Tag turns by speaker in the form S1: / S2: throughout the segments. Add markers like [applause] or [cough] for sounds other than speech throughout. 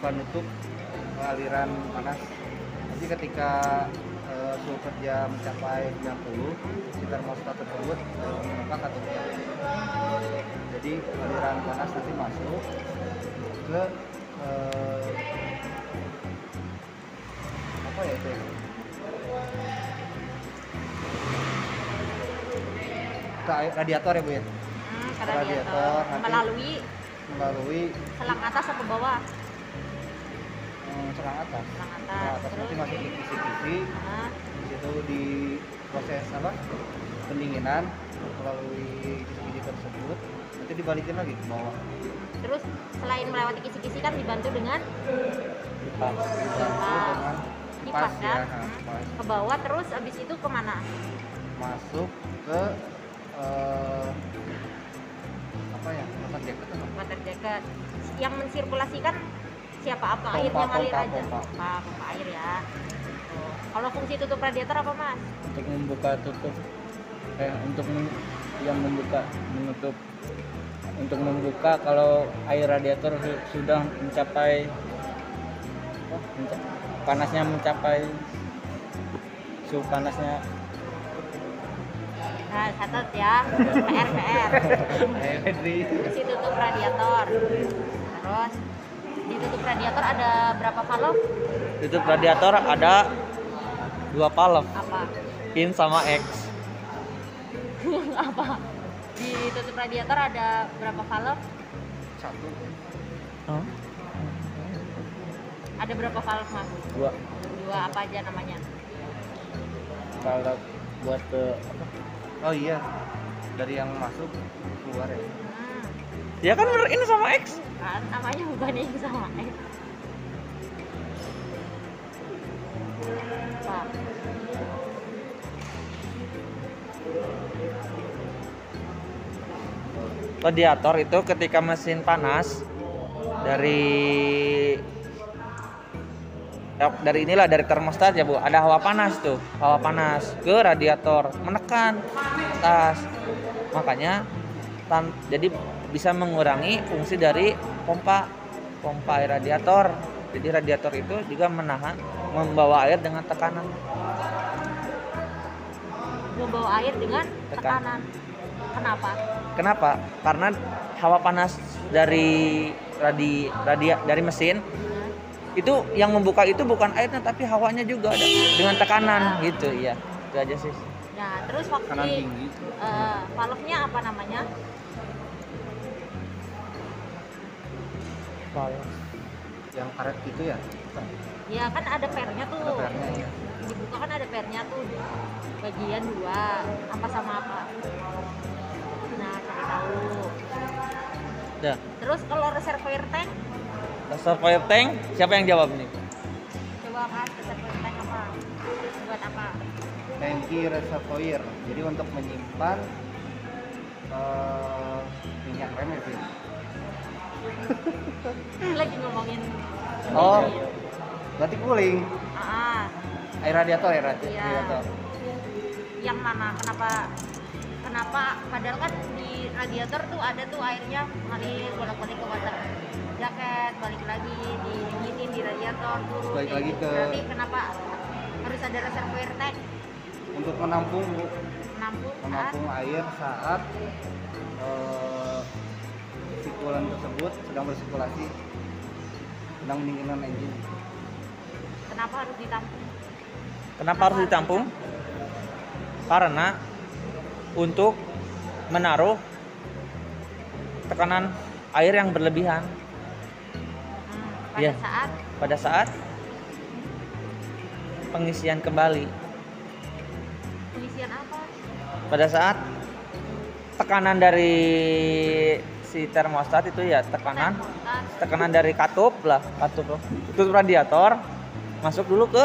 S1: penutup aliran panas. Jadi ketika eh, suhu kerja mencapai 90, si termostat tersebut eh, mengangkat atau menyala. Jadi aliran panas nanti masuk ke eh, apa ya itu? ya? Ke air- radiator ya bu ya
S2: Hmm, ke
S1: Radiator,
S2: radiator
S1: nanti-
S2: melalui
S1: melalui
S2: selang atas atau bawah
S1: eh, selang atas.
S2: selang
S1: Nah,
S2: atas
S1: atas nanti
S2: terus
S1: masuk ke kisi-kisi,
S2: nah,
S1: di situ di proses apa? Pendinginan melalui kisi-kisi tersebut. Nanti dibalikin lagi ke bawah.
S2: terus selain melewati kisi-kisi kan dibantu dengan
S1: Kipas. Dibantu dengan
S2: kipas
S1: kipas ya.
S2: kan
S1: nah, kipas.
S2: ke bawah terus abis itu kemana
S1: Masuk ke eh, apa ya? Makan jaket apa?
S2: water jacket yang mensirkulasikan siapa apa air
S1: Pompa,
S2: yang ngalir
S1: pompa,
S2: aja
S1: pompa.
S2: pompa pompa air ya Gitu. kalau fungsi tutup radiator apa mas
S3: untuk membuka tutup eh untuk mem- yang membuka menutup untuk membuka kalau air radiator su- sudah mencapai oh, menca- panasnya mencapai suhu panasnya
S2: nah catat ya pr pr
S1: Eh, Fedri.
S2: fungsi tutup radiator terus di tutup radiator ada berapa valve
S4: [laughs] tutup radiator ada dua palem
S2: apa
S4: pin sama X
S2: apa di tutup radiator ada berapa valve
S1: Satu.
S2: ada berapa valve mas
S3: dua
S2: dua apa aja namanya
S3: kalau buat ke
S1: Oh iya. Dari yang masuk keluar ya.
S2: hmm,
S4: ya kan bener ini sama X
S2: kan namanya bukan yang sama eh. Apa?
S4: radiator itu ketika mesin panas dari ya, dari inilah dari termostat ya bu ada hawa panas tuh hawa panas ke radiator menekan atas makanya tan- jadi bisa mengurangi fungsi dari pompa pompa air radiator jadi radiator itu juga menahan membawa air dengan tekanan
S2: membawa air dengan
S4: Tekan.
S2: tekanan kenapa
S4: Kenapa? Karena hawa panas dari radi radia dari mesin itu yang membuka itu bukan airnya tapi hawanya juga ada dengan tekanan gitu ya. Itu aja sih.
S2: nah terus waktu
S1: Kanan
S2: di
S1: tinggi.
S2: eh, valve-nya apa namanya
S1: Yang karet gitu ya.
S2: ya kan ada pernya tuh
S1: Ada pernya ya.
S2: dibuka kan ada pernya tuh bagian dua apa sama apa nah cari tahu
S4: Dah.
S2: terus kalau reservoir tank
S4: Survey tank, siapa yang jawab nih?
S2: coba kan reservoir tank apa buat apa
S1: Tanki reservoir. Jadi untuk menyimpan eh, minyak rem ya, Vin?
S2: Kan lagi ngomongin
S1: Oh.
S2: ini.
S1: Berarti cooling.
S2: ah
S1: Air radiator, air radi-
S2: Iya.
S1: radiator.
S2: yang mana kenapa kenapa padahal kan di radiator tuh ada tuh airnya ngalir bolak-balik ke water jaket balik lagi didinginin di radiator tuh
S1: Balik lagi ke-
S2: berarti kenapa harus ada reservoir tank
S1: Untuk menampung
S2: menampung kan
S1: menampung air saat eh, sikulan tersebut sedang bersirkulasi sedang mendinginan engine.
S2: kenapa harus ditampung
S4: Kenapa harus ditampung? Karena untuk menaruh tekanan air yang berlebihan
S2: Hmm, pada
S4: Iya.
S2: saat
S4: pada saat pengisian kembali.
S2: pengisian apa
S4: pada saat tekanan dari si termostat itu ya tekanan
S2: Termostat.
S4: tekanan dari katup lah katup loh. tutup radiator masuk dulu ke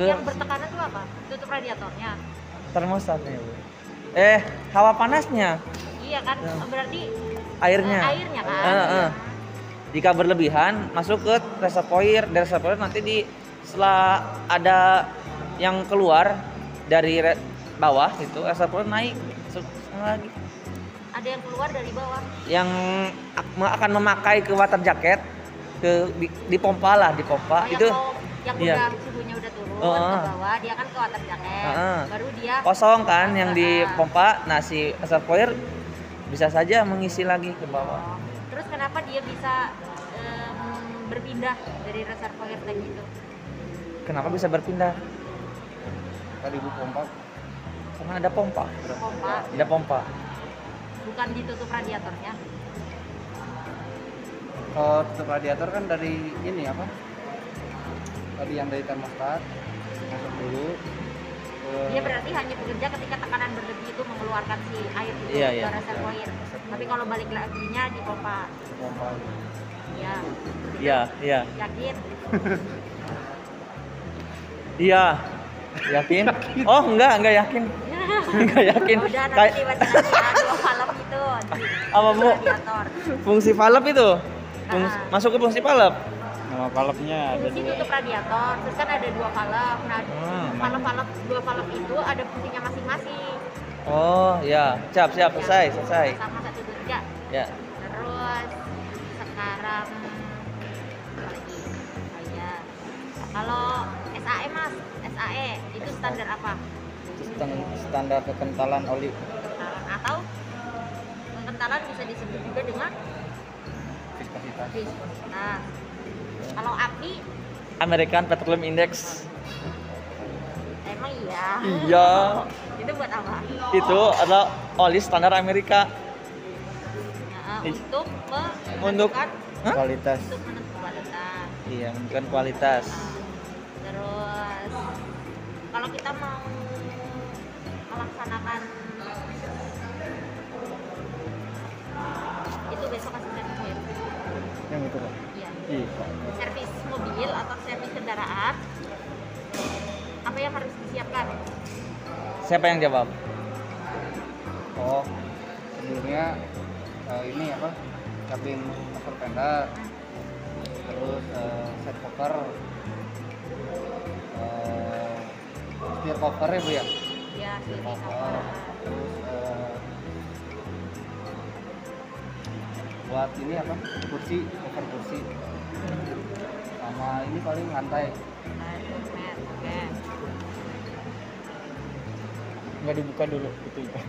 S4: ke
S2: yang bertekanan tuh apa tutup radiatornya
S4: termostatnya Bu. eh hawa panasnya
S2: iya kan
S4: Ya.
S2: berarti
S4: airnya
S2: eh, airnya kan
S4: Eh, eh. jika berlebihan masuk ke reservoir dari reservoir nanti di setelah ada yang keluar dari re- bawah itu reservoir naik masuk lagi
S2: ada yang keluar dari bawah
S4: yang ak- me- akan memakai ke water jacket ke di, dipompa lah
S2: Oh,
S4: dipompa
S2: yang
S4: itu
S2: mau- yang
S4: iya. Oh, ah.
S2: udah suhunya udah turun
S4: Heeh.
S2: ke bawah dia kan ke water jacket
S4: Heeh.
S2: baru dia
S4: kosong kan yang
S2: Ah.
S4: dipompa nah si reservoir bisa saja mengisi lagi ke
S2: Oh,
S4: bawah
S2: terus kenapa dia bisa em, berpindah dari reservoir tank itu
S4: kenapa bisa berpindah
S1: tadi ibu pompa
S4: karena ada pompa
S2: ke pompa
S4: ada pompa
S2: bukan ditutup radiatornya
S1: kalau tutup radiator kan dari ini apa tadi yang dari termostat masuk dulu ke-
S2: dia Iya, berarti hanya bekerja ketika tekanan berlebih itu mengeluarkan si air itu
S4: Iya,
S2: ke
S4: iya.
S2: reservoir tapi kalau balik lagi nya di pompa
S1: ke pompa
S2: ya
S4: iya iya
S2: yakin [laughs]
S4: iya yakin oh enggak enggak
S2: [laughs]
S4: yakin enggak yakin
S2: Oh, udah nanti
S4: kayak
S2: tiba-tiba dua malam itu di
S4: Apa, Bu?
S2: radiator
S4: fungsi valve itu Fungs-
S2: Ah.
S4: masuk ke fungsi valve
S3: nama valve-nya ada
S2: fungsi
S3: dua
S2: tutup radiator terus kan ada dua valve nah
S4: Hmm.
S2: valve-valve dua valve itu ada fungsinya masing-masing
S4: oh ya siap siap selesai selesai
S2: sama satu dua tiga
S4: ya
S2: terus sekarang apa lagi oh iya kalau SAE mas SAE itu
S4: E.
S2: standar apa
S3: Itu stan- standar kekentalan oli
S2: kentalan atau kentalan bisa disebut juga dengan
S1: viskositas
S2: viskositas kalau api
S4: American Petroleum Index
S2: emang iya
S4: Iya.
S2: itu buat apa
S4: itu adalah oli standar Amerika
S2: Ya,
S4: Ih.
S2: untuk me-
S4: Untuk-
S2: menentukan
S4: Hah?
S3: kualitas
S2: untuk menentukan kualitas
S4: iya bukan kualitas
S2: Terus kalau kita mau melaksanakan itu besok kasih servis ya.
S3: yang itu Pak.
S2: Iya.
S3: Ih,
S2: Servis mobil atau servis kendaraan apa yang harus disiapkan?
S4: siapa yang jawab
S1: oh sebelumnya eh, ini apa cabin cover pendek terus eh, set cover eh, steer cover ya bu ya
S2: Ya,
S1: steer
S2: seperti apa?
S1: cover terus eh, buat ini apa kursi cover kursi sama ini paling lantai
S2: Nah, helmet, oke.
S3: nggak dibuka dulu itu ya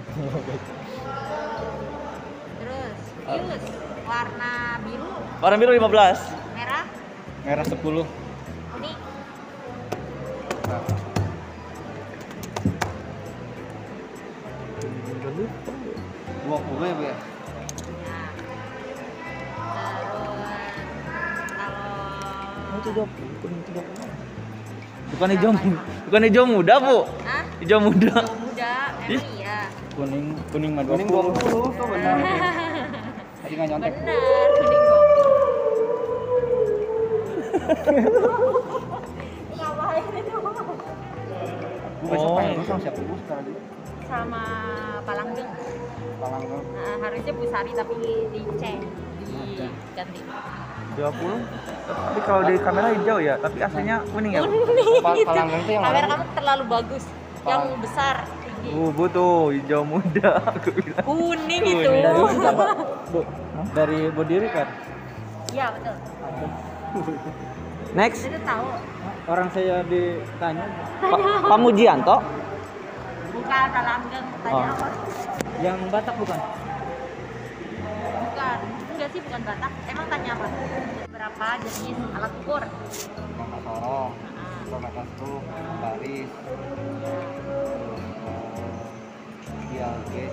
S2: Terus fuse warna biru,
S4: warna biru 15
S2: merah,
S3: merah 10
S2: kuning.
S1: Nah, dua puluh ya bu ya
S2: Nah. Terus kalau
S4: itu jawab bukan itu jawab bukan hijau bukan hijau muda bu
S2: Hah?
S4: hijau muda
S2: Jauh muda, emang iya.
S3: kuning kuning mah
S1: kuning dua
S3: 20
S1: puluh tuh [laughs] benar tadi nggak nyontek
S2: Benar, kuning kok. Ngapain itu?
S1: Bu besok
S4: Oh.
S1: pengen lu sama siapa bu sekarang gitu?
S2: Sama Palangbing.
S1: Palang lu.
S2: Nah, harusnya Busari tapi di change Iya. diganti.
S4: dua puluh tapi kalau di kamera hijau ya tapi aslinya
S2: Iya,
S4: kuning ya
S1: Pa- Palang lu tuh yang
S2: Kamera
S1: mana?
S2: kamu terlalu bagus. Yang
S1: Palang-
S2: besar, tinggi.
S4: bu tuh hijau muda aku bilang
S2: Kuning itu.
S3: dari apa Bu, dari body kan
S2: Iya, betul.
S4: next
S2: Itu tahu.
S3: orang saya ditanya
S4: pa Pamujianto
S2: Bukan Palangbing, tanya
S4: Oh.
S2: apa?
S3: yang Batak bukan
S2: Bukan. Enggak sih, bukan Batak. Emang tanya apa? Berapa jenis alat ukur?
S1: Mata sorong, mata tuh, baris, dia gauge,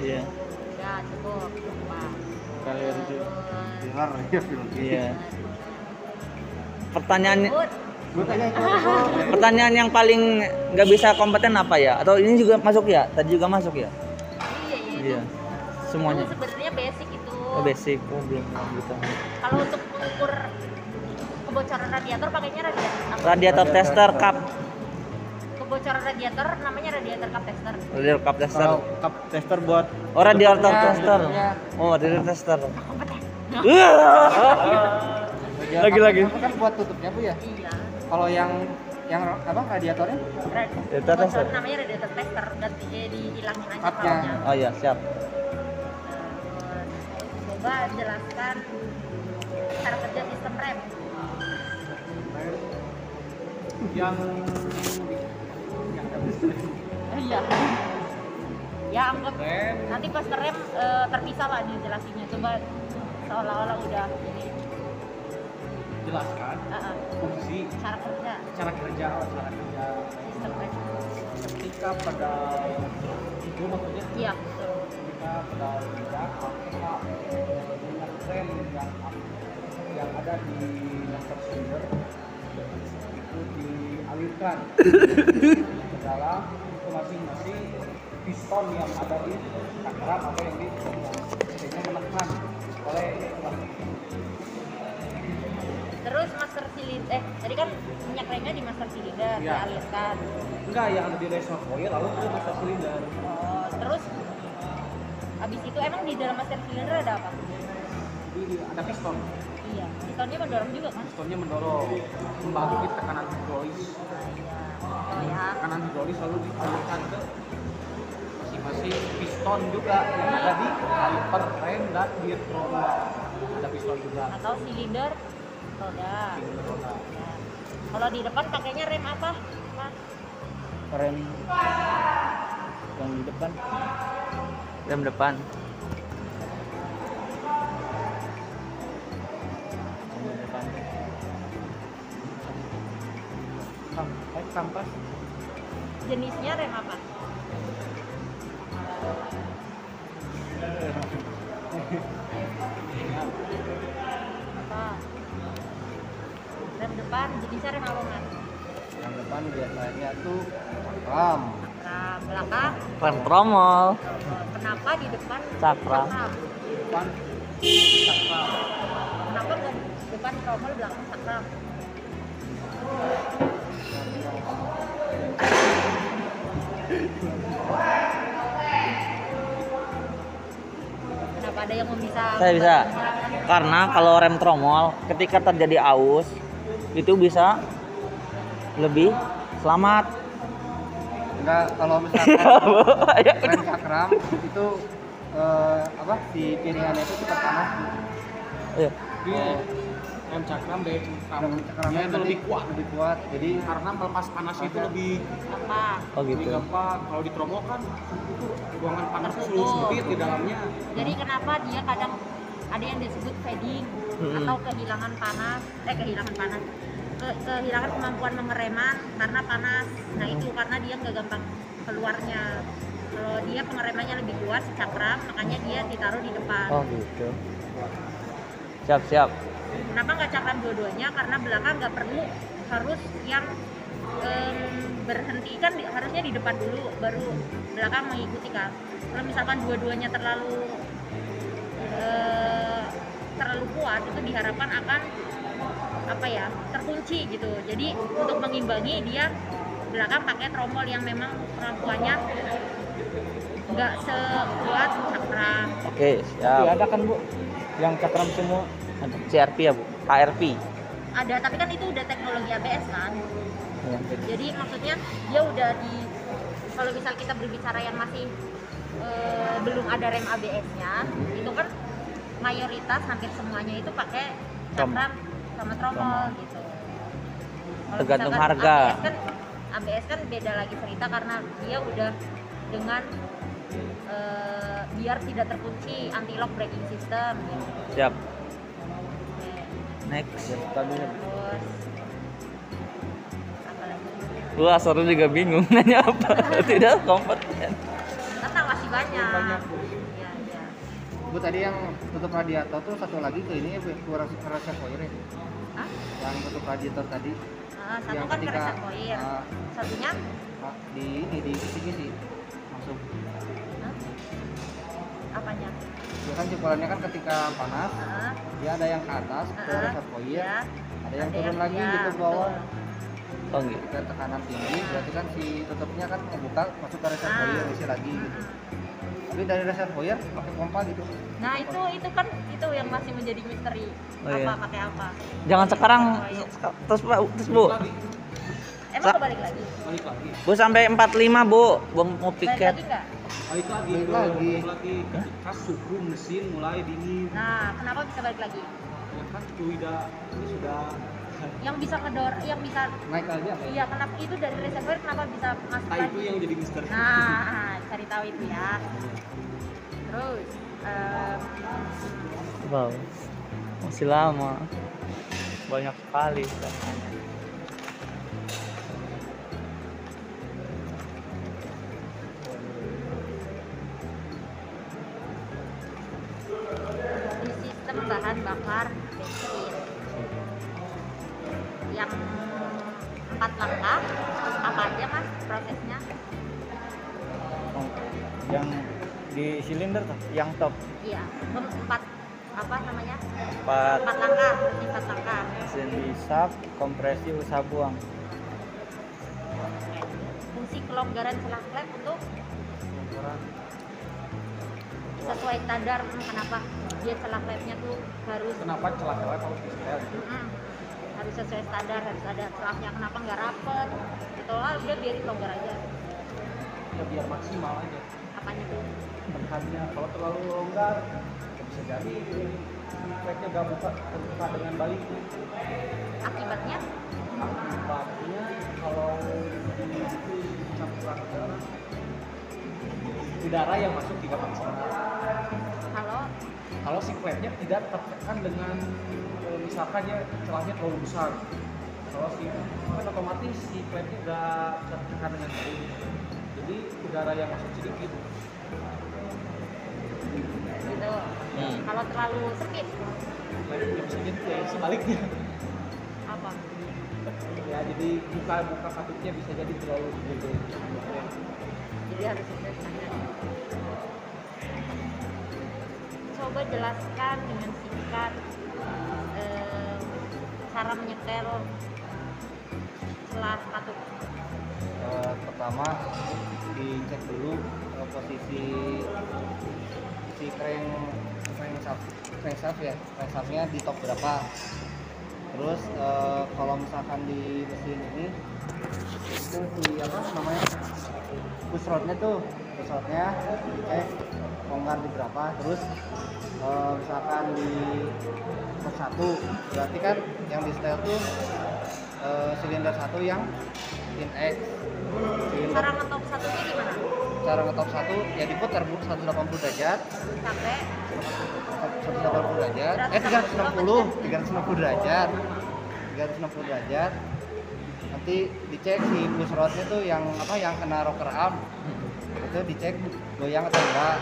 S3: iya
S2: Udah cukup. Wah.
S3: kalian juga
S2: Terus,
S1: filter, ya film
S3: iya
S4: pertanyaan
S2: Good.
S1: Gue tanya itu apa?
S4: pertanyaan yang paling nggak bisa kompeten apa ya atau ini juga masuk ya tadi juga masuk ya
S2: Iya, iya.
S4: iya
S2: Itu
S4: semuanya
S2: sebenarnya basic itu.
S4: Oh, basic oh, belum gitu
S2: Kalau untuk mengukur kebocoran radiator pakainya radiator apa?
S4: radiator tester cup
S2: Kebocoran radiator namanya radiator cup tester.
S4: radiator cup tester
S3: kalau cup tester buat
S4: oh radiator
S3: Iya,
S1: Bentuknya,
S4: tester
S1: bentuknya.
S4: oh radiator tester
S2: Kompeten.
S3: Iya.
S4: [laughs]
S1: Ya,
S4: Lagi,
S1: kan-
S4: lagi.
S1: Kan buat tutupnya bu ya.
S2: Iya.
S1: Kalau yang yang apa radiatornya?
S2: Radiator
S4: Radiator tester.
S2: namanya radiator tester ganti eh, dihilangin aja
S4: iya,
S1: Cupnya.
S2: kalungnya.
S4: oh iya siap
S2: Terus, coba jelaskan cara kerja sistem rem.
S1: yang
S2: Iya. Ya anggap
S1: rem
S2: nanti cluster rem eh, terpisah lah dijelasinnya. Coba seolah-olah udah ini
S1: jelaskan
S2: Ah, ah.
S1: fungsi
S2: cara kerja
S1: cara kerja cara kerja
S2: sistem rem.
S1: ketika pada itu maksudnya
S2: Iya betul.
S1: ketika pada kita apakah dengan rem yang yang ada di motor silinder itu dialirkan ke dalam ke masing-masing piston yang ada di cakram atau yang di sehingga menekan oleh
S2: Terus master silinder eh tadi kan minyak remnya di master silinder
S1: Iya.
S2: dialirkan.
S1: enggak yang ada di reservoir coil lalu ke motor silinder
S2: Oh, terus habis itu emang di dalam master silinder ada apa?
S1: jadi ada piston
S2: Iya, pistonnya mendorong juga kan?
S1: pistonnya mendorong membantu di tekanan hidrolis
S2: Oh ya.
S1: tekanan hidrolis lalu dialirkan ke masing-masing piston juga yang ada di hyper rem dan di roda ada piston juga
S2: Atau silinder roda.
S1: di roda
S2: Ya. Kalau di depan pakainya rem apa? Mas?
S3: rem yang di depan
S4: rem depan
S3: yang di depan
S1: sampai sampai
S2: Jenisnya rem apa? Apa? Rem depan jenisnya rem apa mas?
S1: yang depan biasanya tuh cakram
S2: Nah, belakang
S4: rem tromol
S2: eh, kenapa di depan
S4: Cakram.
S2: sakral?
S1: depan cakram
S2: Kenapa nggak di depan tromol belakang sakral? Kenapa ada yang bisa?
S4: Saya bisa. karena kalau rem tromol ketika terjadi aus itu bisa lebih selamat [laughs]
S1: enggak kalau misalkan
S4: Ayo.
S1: rem cakram itu eh, apa si piringannya itu cepat panas
S4: Iya.
S1: di rem cakram deh cakram cakramnya itu lebih kuat lebih kuat jadi karena melepas panas itu lebih
S2: Apa?
S4: oh gitu
S1: gampang kalau di Tromo kan itu ruangan panasnya
S2: Tertutup.
S1: sulit-sulit di dalamnya
S2: Jadi kenapa dia kadang ada yang disebut fading
S4: Mm-mm.
S2: atau kehilangan panas, eh kehilangan panas, Ke- kehilangan kemampuan mengereman karena panas. Nah itu karena dia nggak gampang keluarnya. Kalau dia pengeremannya lebih kuat, si cakram, makanya dia ditaruh di depan.
S4: oh gitu siap siap
S2: Kenapa nggak cakram dua-duanya? Karena belakang nggak perlu harus yang em, berhenti kan di- harusnya di depan dulu, baru belakang mengikuti kan. Kalau misalkan dua-duanya terlalu eh, terlalu kuat itu diharapkan akan apa ya terkunci gitu. Jadi untuk mengimbangi dia belakang pakai tromol yang memang kemampuannya nggak sekuat cakram.
S4: oke
S3: tapi
S4: siap
S3: ada kan bu yang cakram semua ada
S4: CRP ya bu ARP
S2: Ada tapi kan itu udah teknologi ABS kan.
S3: yang kayak gitu.
S2: jadi maksudnya dia udah di kalau misal kita berbicara yang masih eh, belum ada rem ABS-nya itu kan mayoritas hampir semuanya itu pakai
S4: Tromol.
S2: cakram sama tromol gitu Kalau
S4: Tergantung
S2: misalkan
S4: harga.
S2: ABS kan, ABS kan beda lagi cerita karena dia udah dengan eh, biar tidak terkunci anti lock braking system gitu.
S4: siap
S2: Oke.
S4: next
S3: Biar stabil
S2: terus apa lagi
S4: gua seru juga bingung [laughs] nanya apa tidak kompeten
S2: Karena masih banyak.
S1: Banyak.
S2: Iya, iya.
S1: bu tadi yang tutup radiator tuh satu lagi ke ini ya bu kurang kerasa koir ya
S2: Hah?
S1: yang tutup radiator tadi
S2: Ah, satu
S1: yang
S2: kan keresan koir.
S1: ah,
S2: Satunya
S1: ah, di ini di sini sih masuk
S2: Hah? apanya?
S1: ya kan jempolannya kan ketika panas
S2: Ah,
S1: dia ada yang ke atas ke
S2: ah,
S1: resep koir
S2: iya.
S1: ada yang
S2: Ada
S1: turun
S2: yang-
S1: lagi
S2: iya,
S1: gitu ke bawah
S2: betul.
S4: oh gitu
S1: ke tekanan tinggi berarti kan si tutupnya kan membuka masuk ke resep
S2: Ah.
S1: koir isi lagi gitu tapi dari resep koir pakai pompa gitu
S2: Nah itu itu kan itu yang masih menjadi misteri
S4: Oh,
S2: apa
S4: iya.
S2: pakai apa?
S4: jangan sekarang
S2: Pakai koir.
S4: terus bu terus bu
S2: Eh Emang
S4: Sa-
S2: kebalik lagi?
S3: balik lagi
S4: Bu sampai 45 bu, Bu mau
S2: Balik
S4: piket.
S2: lagi nggak?
S3: balik lagi
S1: Balik
S3: bro.
S1: lagi.
S3: Balik lagi kas suhu mesin mulai dingin
S2: Nah, kenapa bisa balik lagi?
S3: ya kan sudah ini sudah
S2: Yang bisa kedor, yang bisa
S1: naik aja Pak.
S2: Iya, kenapa itu dari reservoir kenapa bisa masuk
S3: nah itu
S2: lagi?
S3: yang jadi misteri
S2: Nah, cari tahu itu ya. Terus em,
S4: Wow, masih lama. Banyak sekali.
S2: di sistem bahan bakar bensin yang empat langkah apa aja mas prosesnya
S3: yang di silinder tuh yang top
S2: iya mem- empat apa namanya
S3: empat
S2: empat langkah berarti empat langkah
S3: mesin hisap kompresi usap buang
S2: Oke. fungsi kelonggaran celah klep untuk sesuai standar hmm, kenapa dia celah klepnya tuh harus
S1: kenapa celah celah harus di setel
S2: Mm-mm. harus sesuai standar harus ada celahnya kenapa nggak rapet gitu lah udah biarin longgar aja
S1: ya biar maksimal aja
S2: apanya tuh
S1: tekannya kalau terlalu longgar ya bisa jadi efeknya nggak buka terbuka dengan baik
S2: akibatnya
S1: akibatnya kalau di itu campuran udara udara yang masuk tidak maksimal
S2: kalau
S1: kalau si klepnya tidak tertekan dengan e, misalkan ya celahnya terlalu besar kalau si kan otomatis si klepnya udah tertekan dengan baik jadi udara yang masuk sedikit
S2: gitu kalau terlalu sempit
S1: klepnya nggak bisa nyentuh ya sebaliknya [laughs]
S2: apa
S1: ya jadi buka buka patutnya bisa jadi terlalu gede
S2: jadi harus sesuai standar coba jelaskan dengan singkat eh, cara menyetel celah katup
S1: Eh, pertama dicek dulu eh, posisi si crank crankshaft crankshaft ya crankshaftnya di top berapa terus eh, kalau misalkan di mesin ini itu si apa namanya push rodnya tuh push rodnya eh longgar di berapa terus eh, misalkan di top satu berarti kan yang di setel tuh eh, silinder satu yang in X silinder
S2: cara ngetop satunya gimana
S1: cara ngetop satu ya diputar bu 180 derajat
S2: sampai
S1: 180 derajat eh 360 360 derajat 360 derajat nanti dicek si push rodnya tuh yang apa yang kena rocker arm itu dicek goyang atau enggak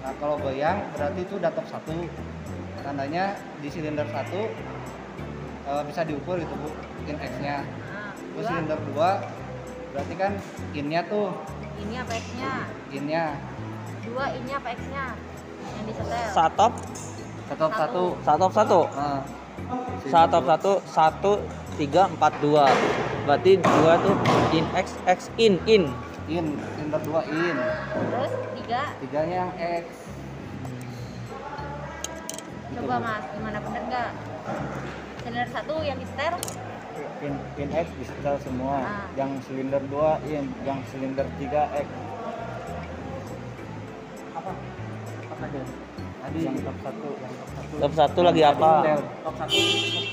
S1: nah kalau goyang berarti itu udah top satu tandanya di silinder satu eh, bisa diukur gitu bu in X nya
S2: nah,
S1: terus
S2: dua.
S1: silinder dua berarti kan innya tuh
S2: ini apa X-nya?
S1: innya
S2: Dua ini apa X-nya? Yang disetel.
S4: Satop,
S1: satu satu
S4: satop satu,
S3: Ah.
S1: Nah,
S4: satop satu, satu, tiga, empat, dua. Berarti dua tuh in x x in in.
S1: in silinder dua in
S2: Terus tiga,
S1: tiganya yang x Gitu,
S2: coba
S1: Bu.
S2: mas, gimana bener nggak? Silinder satu yang disetel,
S3: pin pin X di setel semua
S2: Ah.
S3: yang silinder 2 in yang silinder 3 X
S1: apa apa aja tadi
S3: yang top satu yang top satu
S4: Top satu lagi apa?
S1: top satu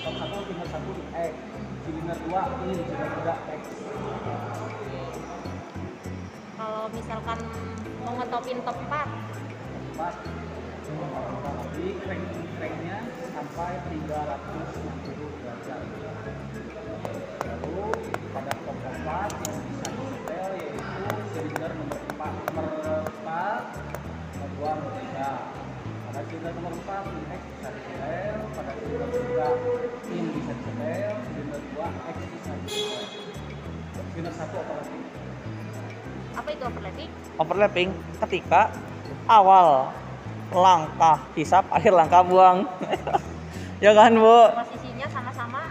S1: top satu silinder satu eh, in x silinder dua in silinder tiga x
S2: kalau misalkan mau ngetopin top empat,
S1: pas tapi crank cranknya sampai 360 derajat lalu pada top 4 yang bisa detail yaitu silinder nomor 4 nomor 4 nomor 2 nomor 3 pada silinder nomor 4 in X bisa detail pada silinder 3 in bisa detail silinder 2 X bisa detail silinder 1 apalagi
S2: apa itu overlapping?
S4: Overlapping ketika awal langkah hisap, akhir langkah buang. [laughs] ya kan bu?
S2: Posisinya sama-sama,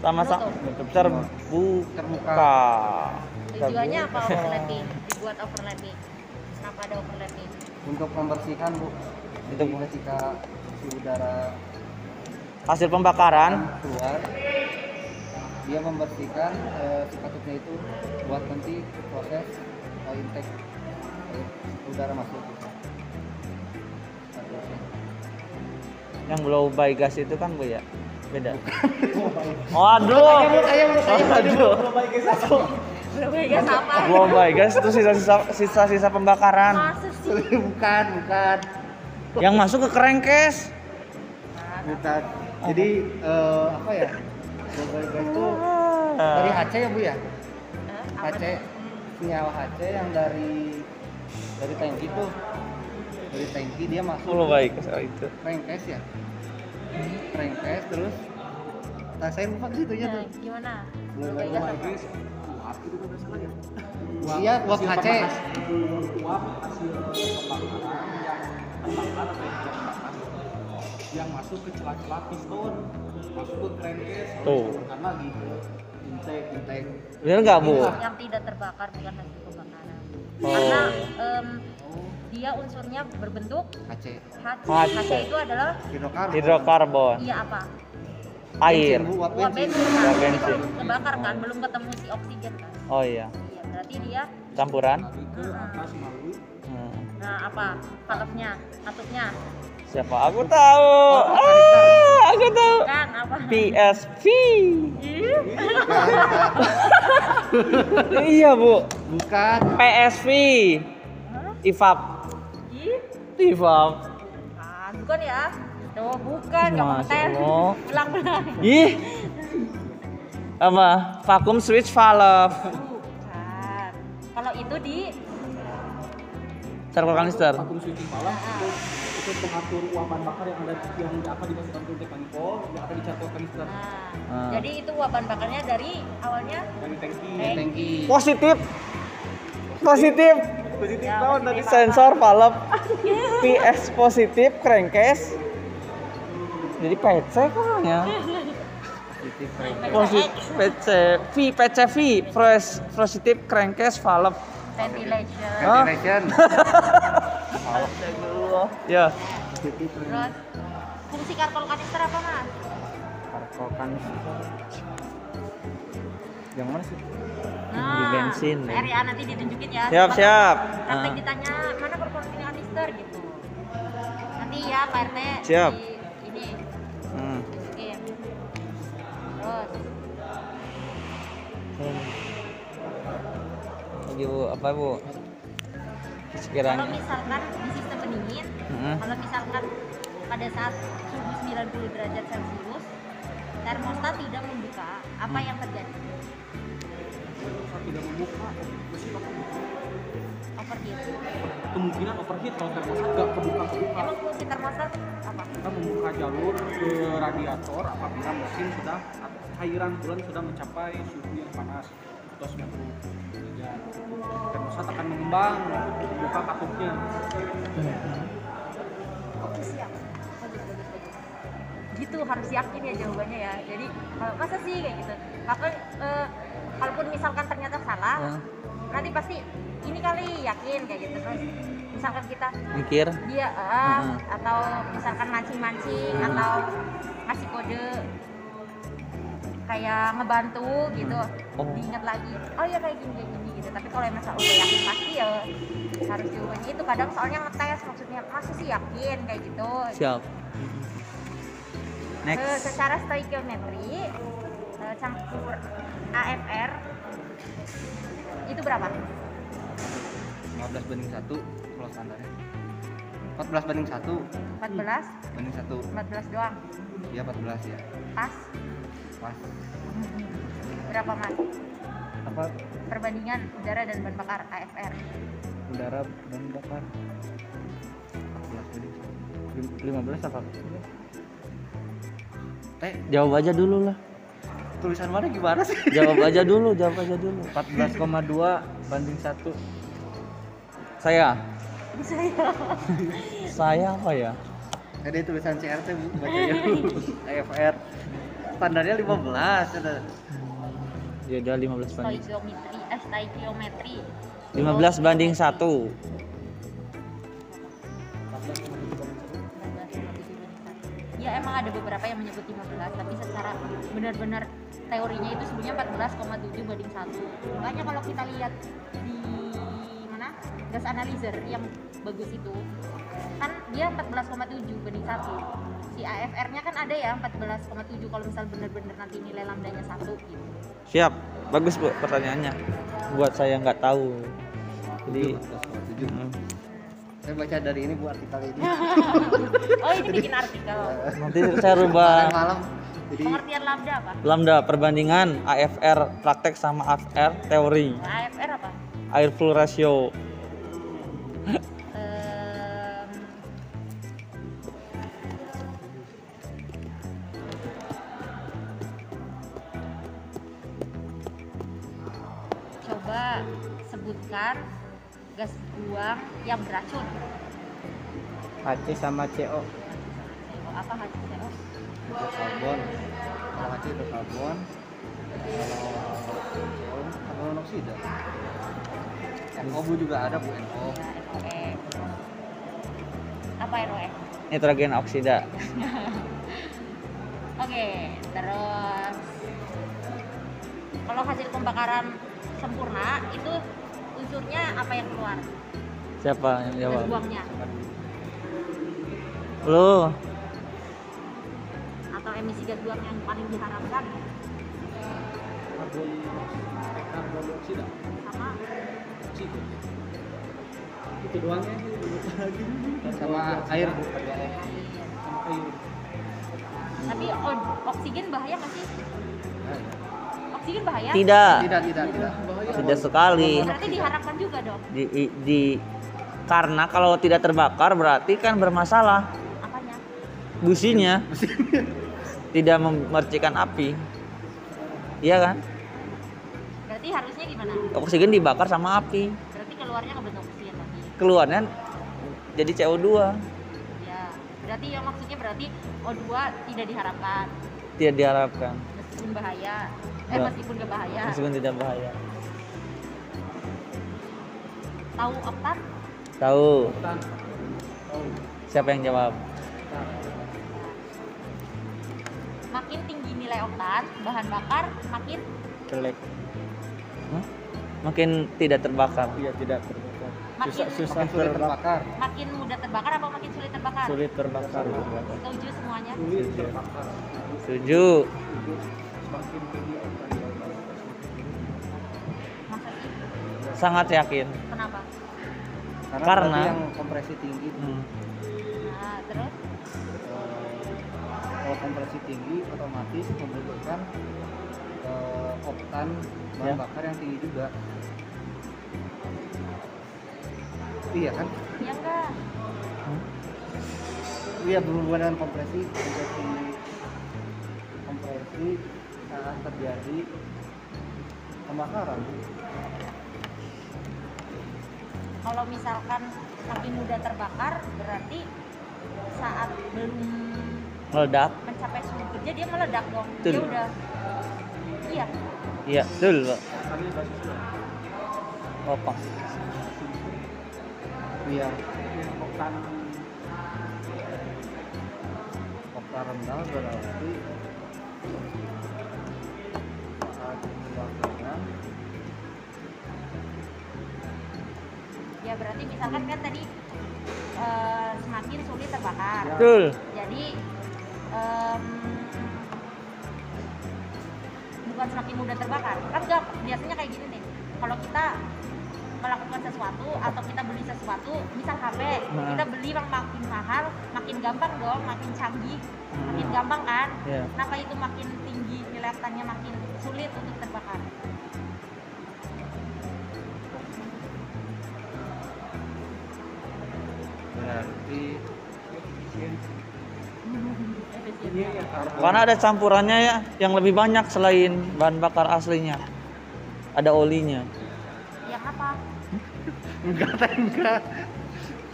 S4: Sama-sama
S1: Menutup.
S4: terbuka.
S2: tujuannya apa overlapping? Dibuat overlapping. Kenapa ada overlapping?
S1: untuk membersihkan bu
S4: Itu, Bu.
S1: ketika si udara
S4: Hasil pembakaran
S1: keluar dia membersihkan eh, si katupnya itu buat nanti proses eh, intake eh, udara masuk
S4: Yang blow by gas itu kan Bu ya? Beda. Waduh. [laughs] Waduh.
S2: Berbeda apa?
S4: Blow by gas itu sisa-sisa sisa-sisa pembakaran
S2: Masa sih?
S1: bukan bukan
S4: yang masuk ke kerengkes.
S1: bukan jadi eh, apa ya Bogor itu dari
S4: Ah.
S1: Aceh ya bu ya
S2: Eh, apa
S1: HC senyawa HC yang dari dari tangki tuh dari tangki dia masuk
S4: Blow by gas oh, itu.
S1: rengkes ya rengkes terus nah saya lupa ke situnya
S2: Nah,
S1: tuh
S2: gimana?
S1: Belum
S2: Berbeda
S1: lagi
S2: apa?
S1: iya uap HC
S5: yang masuk ke celah-celah piston masuk ke crankcase
S4: Tuh.
S5: karena gitu intake
S1: Tank.
S4: Bener nggak Bu?
S2: yang tidak terbakar bukan hasil pembakaran
S4: Oh.
S2: karena em,
S1: Oh.
S2: dia unsurnya berbentuk
S1: HC
S2: HC
S4: HC.
S2: HC itu adalah
S1: hidrokarbon
S4: Hidrokarbon,
S2: iya apa
S4: air.
S1: Bensin, Bu, uap
S2: uap
S1: bensin
S2: bensin kan
S4: Uap
S2: itu
S4: bensin.
S2: belum terbakar kan belum ketemu si oksigen kan
S4: Oh iya,
S2: iya berarti dia
S4: campuran.
S5: lari ke
S2: Mm-mm.
S5: atas melalui
S4: Hmm.
S2: nah apa valve-nya katupnya
S4: Siapa? Aku tahu. Ah, aku tahu.
S2: kan apa
S4: PSV.
S2: Ih,
S4: iya, Bu.
S1: bukan
S4: PSV.
S2: hah?
S4: IFAP.
S2: Ih,
S4: IFAP.
S2: ah, bukan ya tuh bukan nggak
S4: Masya
S2: kompeten
S4: Allah.
S2: ulang ulang
S4: Ih. Apa? Vakum switch valve.
S2: bukan kalau itu di
S4: Circle kanister.
S5: vakum switching malam
S2: nah,
S5: itu itu pengatur uap bahan bakar yang ada yang akan dimasukkan ke kanipol yang akan dicatat kanister
S2: nah,
S4: Ah.
S2: jadi itu uap bahan bakarnya dari awalnya
S5: dari tangki
S2: Eh,
S1: tangki
S4: Positif. Positif.
S5: positif
S2: Ya,
S5: tahun
S2: positif.
S5: dari
S4: Sensor valve.
S2: [laughs]
S4: PS positif crankcase. Jadi PC kok ya?
S1: positif rengkes
S4: Positif PC V PCV Pros- positif crankcase valve.
S2: ventilation
S4: Hah?
S1: ventilation
S4: Ya.
S1: positif
S2: Terus fungsi karkol kanister apa mas?
S4: Parkokan yang mana sih?
S2: Nah,
S4: Di bensin, ya.
S2: Fer, ya, nanti ditunjukin ya.
S4: Siap,
S2: Coba
S4: siap.
S2: Nanti
S4: Ah.
S2: ditanya mana proporsi kanister gitu. Nanti ya Pak RT.
S4: Siap.
S2: di- ini
S4: Hmm.
S2: masukin. Terus
S4: Lagi Iya, bu, apa bu?
S2: kalau
S4: Sekiranya.
S2: misalkan di sistem pendingin,
S4: Mm-mm.
S2: kalau misalkan pada saat suhu 90 derajat Celcius termostat tidak membuka, apa
S4: Hmm.
S2: yang terjadi?
S5: tidak membuka mesin akan buka.
S2: Overheat.
S5: kemungkinan overheat kalau termostat nggak kebuka kebuka
S2: Emang fungsi termostat apa?
S5: kita membuka jalur ke radiator apabila mesin sudah cairan bulan sudah mencapai suhu yang panas atau 90 derajat. Termostat akan mengembang, membuka katupnya.
S2: Oke siap. Bagus, bagus, bagus. Gitu harus yakin ya jawabannya ya. Jadi kalau masa sih kayak gitu. Maka eh, kalaupun misalkan ternyata salah,
S4: Hah?
S2: nanti pasti ini kali yakin kayak gitu terus. Misalkan kita
S4: Mikir.
S2: dia eh,
S4: Mm-mm.
S2: atau misalkan mancing-mancing
S4: Mm.
S2: atau ngasih kode kayak ngebantu gitu
S4: Oh.
S2: diingat lagi oh ya kayak gini kayak gini gitu tapi kalau yang masa udah yakin pasti ya harus jawabannya itu kadang soalnya ngetes maksudnya masih sih yakin kayak gitu
S4: Siap.
S2: Eh,
S4: Next.
S2: secara stoikiometri eh, campur AFR itu berapa?
S1: 15 banding 1 kalau standarnya 14 banding 1
S2: 14,
S1: banding 1
S2: 14 doang.
S1: ya 14 ya
S2: Pas
S1: pas
S2: berapa mas?
S1: apa
S2: Perbandingan udara dan bahan bakar AFR.
S1: udara dan bakar 14 banding 15 apa? Teh,
S4: Jawab aja dulu lah.
S1: Eh, tulisan mana gimana sih?
S4: Jawab aja dulu, jawab aja dulu.
S3: 14,2 banding 1
S4: Saya.
S2: Bisa ya.
S4: Saya apa ya?
S1: Tadi Eh, tulisan CRT bu, bacanya AFR Standarnya 15 ada.
S4: Ya udah 15 banding.
S2: Stoikiometri, eh stoikiometri.
S4: 15 banding
S2: 14,
S4: 1.
S2: 15, 21. Ya emang ada beberapa yang menyebut 15, tapi secara benar-benar teorinya itu sebenarnya 14,7 banding 1 makanya kalau kita lihat di mana gas analyzer yang bagus itu kan dia 14,7 banding 1 si AFR nya kan ada ya 14,7 kalau misal bener-bener nanti nilai lambdanya satu gitu
S4: Siap, bagus bu pertanyaannya. Buat saya nggak tahu. Jadi,
S1: Tujuh.
S4: mm,
S1: Saya baca dari ini bu artikel ini.
S2: oh ini bikin artikel
S4: nanti saya rubah
S1: Kemarin malam. Jadi
S2: pengertian lambda apa?
S4: lambda perbandingan AFR praktek sama AFR teori
S2: AFR apa?
S4: air full ratio
S2: Ehm, coba sebutkan gas buang yang beracun
S3: HC sama CO
S2: CO apa HCO
S1: karbon. Kalau HC itu karbon. Kalau karbon monoksida. NO bu juga ada bu NO.
S2: Nah, NOE apa E? NOE?
S4: nitrogen oksida
S2: Oke, terus kalau hasil pembakaran sempurna itu unsurnya apa yang keluar?
S4: siapa yang
S2: Gas
S4: jawab
S2: buangnya
S4: lu
S2: atau emisi gas buang yang paling diharapkan
S5: karbon karbon dioksida
S2: sama
S5: oksigen itu doang ya lupa lagi
S1: Sama air bu.
S5: sama kayu
S2: tapi o- oksigen bahaya nggak sih? Oksigen bahaya?
S4: Ya. tidak
S1: Tidak tidak tidak.
S4: tidak sekali
S2: Berarti diharapkan juga dong
S4: di, i- di- karena kalau tidak terbakar berarti kan bermasalah
S2: apanya?
S4: businya tidak memercikan api iya kan
S2: Berarti harusnya gimana?
S4: oksigen dibakar sama api
S2: Berarti keluarnya ke bentuk oksigen lagi.
S4: keluarnya jadi CO2
S2: Ya, berarti yang maksudnya berarti O2 tidak diharapkan
S4: tidak diharapkan
S2: meskipun bahaya. Eh
S3: Iya.
S4: Ya.
S2: meskipun gak bahaya.
S4: meskipun tidak bahaya
S2: Tahu oktan?
S4: tahu
S5: hutan
S4: siapa yang jawab
S2: Makin tinggi nilai oktan, bahan bakar makin
S3: jelek
S4: Hah? makin tidak terbakar
S3: dia tidak terbakar
S2: makin
S3: susah
S1: Makin sulit
S3: terbakar
S1: terbakar.
S2: makin mudah terbakar apa makin sulit terbakar?
S3: sulit terbakar
S2: Setuju semuanya?
S5: sulit
S1: Iya.
S5: terbakar
S4: setuju
S5: semakin tinggi hutan
S2: Masa sih?
S4: sangat yakin
S2: Kenapa?
S1: Karena,
S4: Karena-
S1: berarti yang kompresi tinggi.
S2: Nah,
S4: Hmm.
S2: terus
S1: eh, kalau kompresi tinggi otomatis membutuhkan eh, oktan bahan
S4: Ya.
S1: bakar yang tinggi juga iya kan
S2: ya enggak
S1: iya berhubungan dengan kompresi kompresi kompresi akan terjadi pembakaran
S2: kalau misalkan makin mudah terbakar berarti saat belum
S4: meledak
S2: mencapai suhu kerja dia meledak dong
S4: Betul.
S2: dia udah iya
S4: iya betul Pak. apa
S1: iya
S5: hutan
S1: oktan rendah berarti saat pembakaran
S2: ya berarti misalkan kan tadi eh, semakin sulit terbakar
S4: betul
S2: jadi em, bukan semakin mudah terbakar kan enggak biasanya kayak gini nih kalau kita melakukan sesuatu atau kita beli sesuatu misal HP
S4: Nah.
S2: kita beli yang makin mahal makin gampang dong makin canggih
S4: Nah.
S2: makin gampang kan
S4: ya
S2: kenapa itu makin tinggi nilai oktannya makin sulit untuk terbakar
S1: berarti
S5: ini ya karbon
S4: karena ada campurannya ya yang lebih banyak selain bahan bakar aslinya ada olinya
S2: yang Ya apa Kan
S1: enggak enggak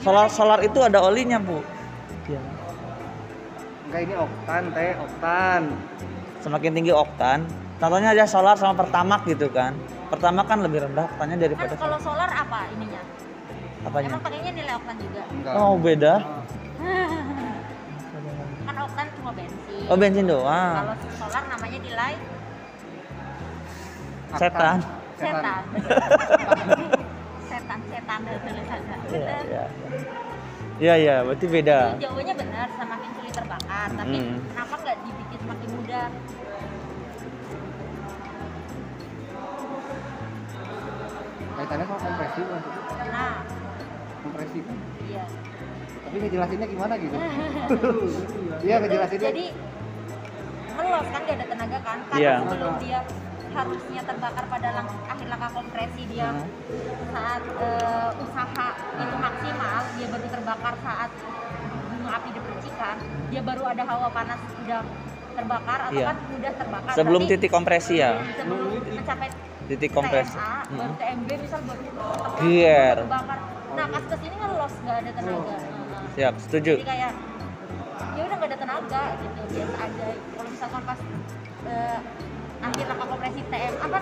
S4: solar solar itu ada olinya bu ya.
S1: enggak ini oktan teh oktan
S4: semakin tinggi oktan contohnya aja solar sama pertamak gitu kan pertamak kan lebih rendah oktannya
S2: kan
S4: daripada
S2: kalau solar apa ininya
S4: apanya
S2: emang pakainya nilai oktan
S4: [laughs]
S2: juga
S1: enggak
S4: oh beda
S2: kan oktan cuma bensin
S4: oh bensin doang
S2: kalau solar namanya nilai
S4: Setan. [laughs]
S2: setan setan setan dari tulisannya
S4: Iya,
S2: Bener.
S4: iya. Iya, iya, berarti beda.
S2: jawabannya benar semakin sulit terbakar tapi
S4: Hmm.
S2: kenapa nggak dibikin semakin mudah
S1: Kaitannya sama kompresi maksudnya.
S2: nah
S1: Kompresi kan.
S2: iya
S1: Tapi ngejelasinnya gimana gitu?
S4: Hmm.
S1: Iya ngejelasinnya.
S2: Nah. jadi melos kan gak ada tenaga kan karena
S4: Iya.
S2: sebelum dia harusnya terbakar pada lang- akhir langkah kompresi dia
S4: Hmm.
S2: saat eh, usaha itu maksimal dia baru terbakar saat bunga api dipercikan dia baru ada hawa panas udah terbakar atau
S4: Iya.
S2: kan udah terbakar
S4: Sebelum
S2: Tapi Hmm,
S4: titik kompresi ya.
S2: sebelum mencapai
S4: Titik kompresi.
S2: TMA, baru
S4: Mm.
S2: TMB misal baru terbakar,
S4: Gear. Iya.
S2: terbakar nah pas kesini kan los gak ada tenaga Hmm. Heeh.
S4: Siap, setuju.
S2: Jadi kayak ya udah nggak ada tenaga gitu biasa aja. Kalau misalkan pas eh, akhir langkah kompresi TM apa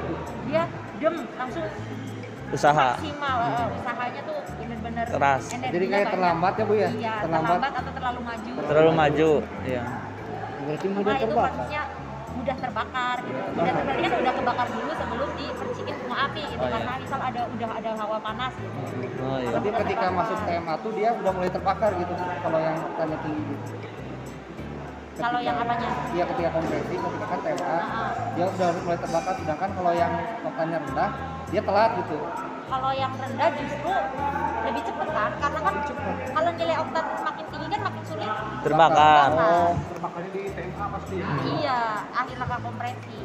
S2: dia dem langsung
S4: Usaha.
S2: maksimal eh, usahanya tuh bener-bener
S4: Ah. Keras.
S2: energinya
S1: Jadi kayak
S2: banyak.
S1: terlambat ya, Bu, ya?
S2: Iya,
S1: Terlambat.
S2: terlambat. atau terlalu maju.
S4: Terlalu maju, iya.
S1: Berarti
S2: Cuma
S1: mudah
S2: Nah, itu
S1: terbakar.
S2: maksudnya mudah terbakar gitu. Mudah terbakar dia kan udah kebakar dulu sebelum dipercikin bunga api gitu
S4: Oh, iya.
S2: karena misal ada udah ada hawa panas gitu.
S4: Oh iya.
S1: Tapi ketika masuk TMA tuh dia udah mulai terbakar gitu kalau yang tanya tinggi gitu.
S2: Kalau yang eh, apanya?
S1: Iya ketika kompresi, ketika kan TMA
S2: Nah,
S1: dia udah mulai terbakar sedangkan kalau yang oktannya rendah dia telat gitu.
S2: kalau yang rendah justru lebih cepat kan karena kan kalau nilai oktan makin tinggi kan makin sulit
S4: Hmm. Terbakar
S2: Nah,
S5: terbakarnya di TMA pasti ya
S2: iya akhir langkah kompresi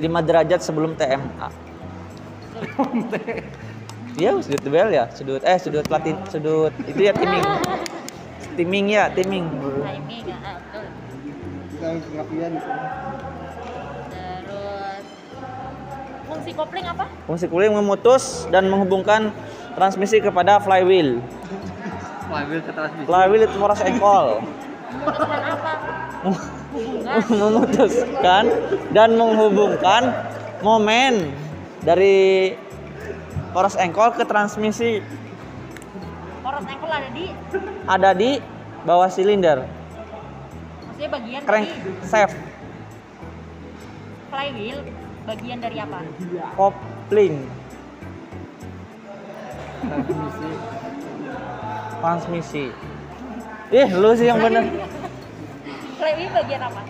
S4: 5 derajat sebelum TMA. Iya, sudut duel ya, sudut eh sudut platin, sudut itu ya timing. Timing ya,
S2: timing ya,
S4: timing.
S2: ah, betul.
S1: Kita pengertian gitu.
S2: terus fungsi kopling apa
S4: Fungsi cooling memutus dan menghubungkan transmisi kepada flywheel.
S1: Mobil ke transmisi.
S4: Flywheel itu poros ekol.
S2: memutuskan apa hubungan
S4: [laughs] memutuskan dan menghubungkan momen dari poros engkol ke transmisi
S2: poros engkol ada di
S4: ada di bawah silinder
S2: maksudnya bagian
S4: crank
S2: dari
S4: shaft
S2: flywheel bagian dari apa
S4: kopling transmisi ih lu sih yang bener
S2: flywheel bagian apa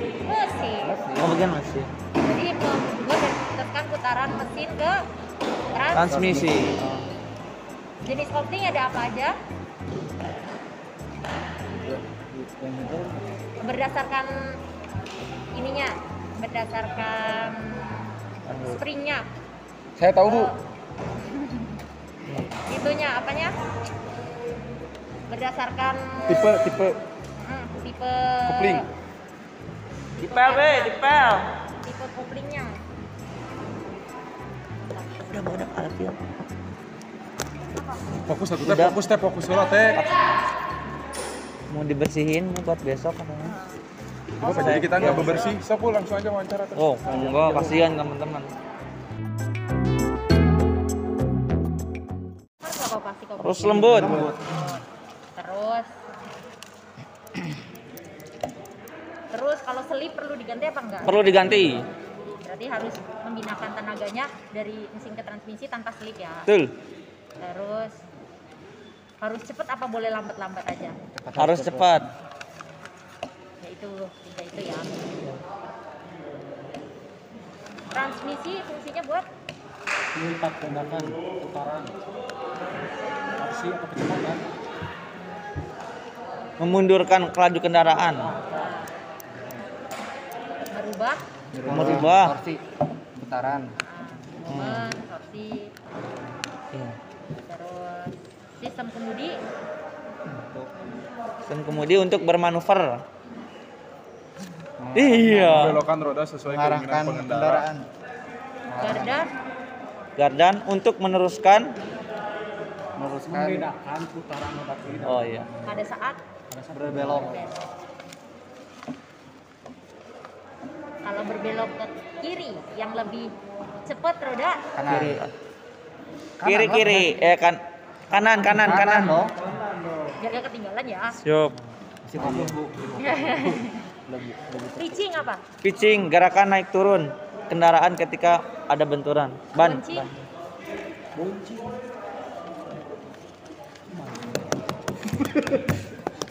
S2: mesin
S4: oh bagian masih
S2: jadi menghubungkan dan memutuskan putaran mesin ke trans
S1: Ah.
S4: transmisi
S2: Jenis kopling ada apa aja? Berdasarkan ininya, berdasarkan springnya,
S1: Saya tahu Bu.
S2: itunya apanya? Berdasarkan
S1: Tipe tipe
S2: Hmm, tipe
S1: kopling.
S4: di pel be di pel
S2: tipe koplingnya.
S4: udah mau udah alfil
S5: fokus satu
S4: Udah.
S5: fokus teh fokus dulu teh
S4: mau dibersihin mau buat besok katanya
S5: jadi kita nggak bebersih sok langsung aja wawancara
S4: oh enggak kasihan teman-teman
S2: Harus apa pasti kopling?
S4: terus lembut
S2: Terus Terus kalau selip perlu diganti apa enggak?
S4: perlu diganti
S2: Berarti harus membinakan tenaganya dari mesin ke transmisi tanpa slip ya.
S4: betul
S2: Terus harus cepet apa boleh lambat-lambat aja?
S4: harus cepat
S2: Ya itu, tiga itu ya. Transmisi fungsinya buat
S5: melipat gandakan putaran aksi atau kecepatan
S4: memundurkan kelaju kendaraan
S2: eh, merubah
S4: Merubah.
S1: Torsi putaran.
S2: eh, momen, torsi,
S4: Iya.
S2: terus sistem kemudi
S4: dan kemudian untuk bermanuver iya
S6: Belokan roda sesuai
S1: Mengarahkan
S6: keinginan pengendara.
S1: kendaraan.
S2: garda
S4: gardan untuk meneruskan
S1: Meluruskan
S5: membedakan putaran roda kiri dan
S4: oh iya
S2: pada saat
S1: berbelok.
S2: berbelok. Kalau berbelok ke kiri yang lebih cepat roda
S1: Kanan.
S4: kiri kiri kiri eh kan kanan kanan kanan
S1: dong.
S2: biar gak ketinggalan ya.
S4: [laughs] siap
S1: Si kamu Bu.
S2: Reaching apa?
S4: pitching gerakan naik turun kendaraan ketika ada benturan ban,
S2: Kunci.
S4: ban.
S5: Boncing.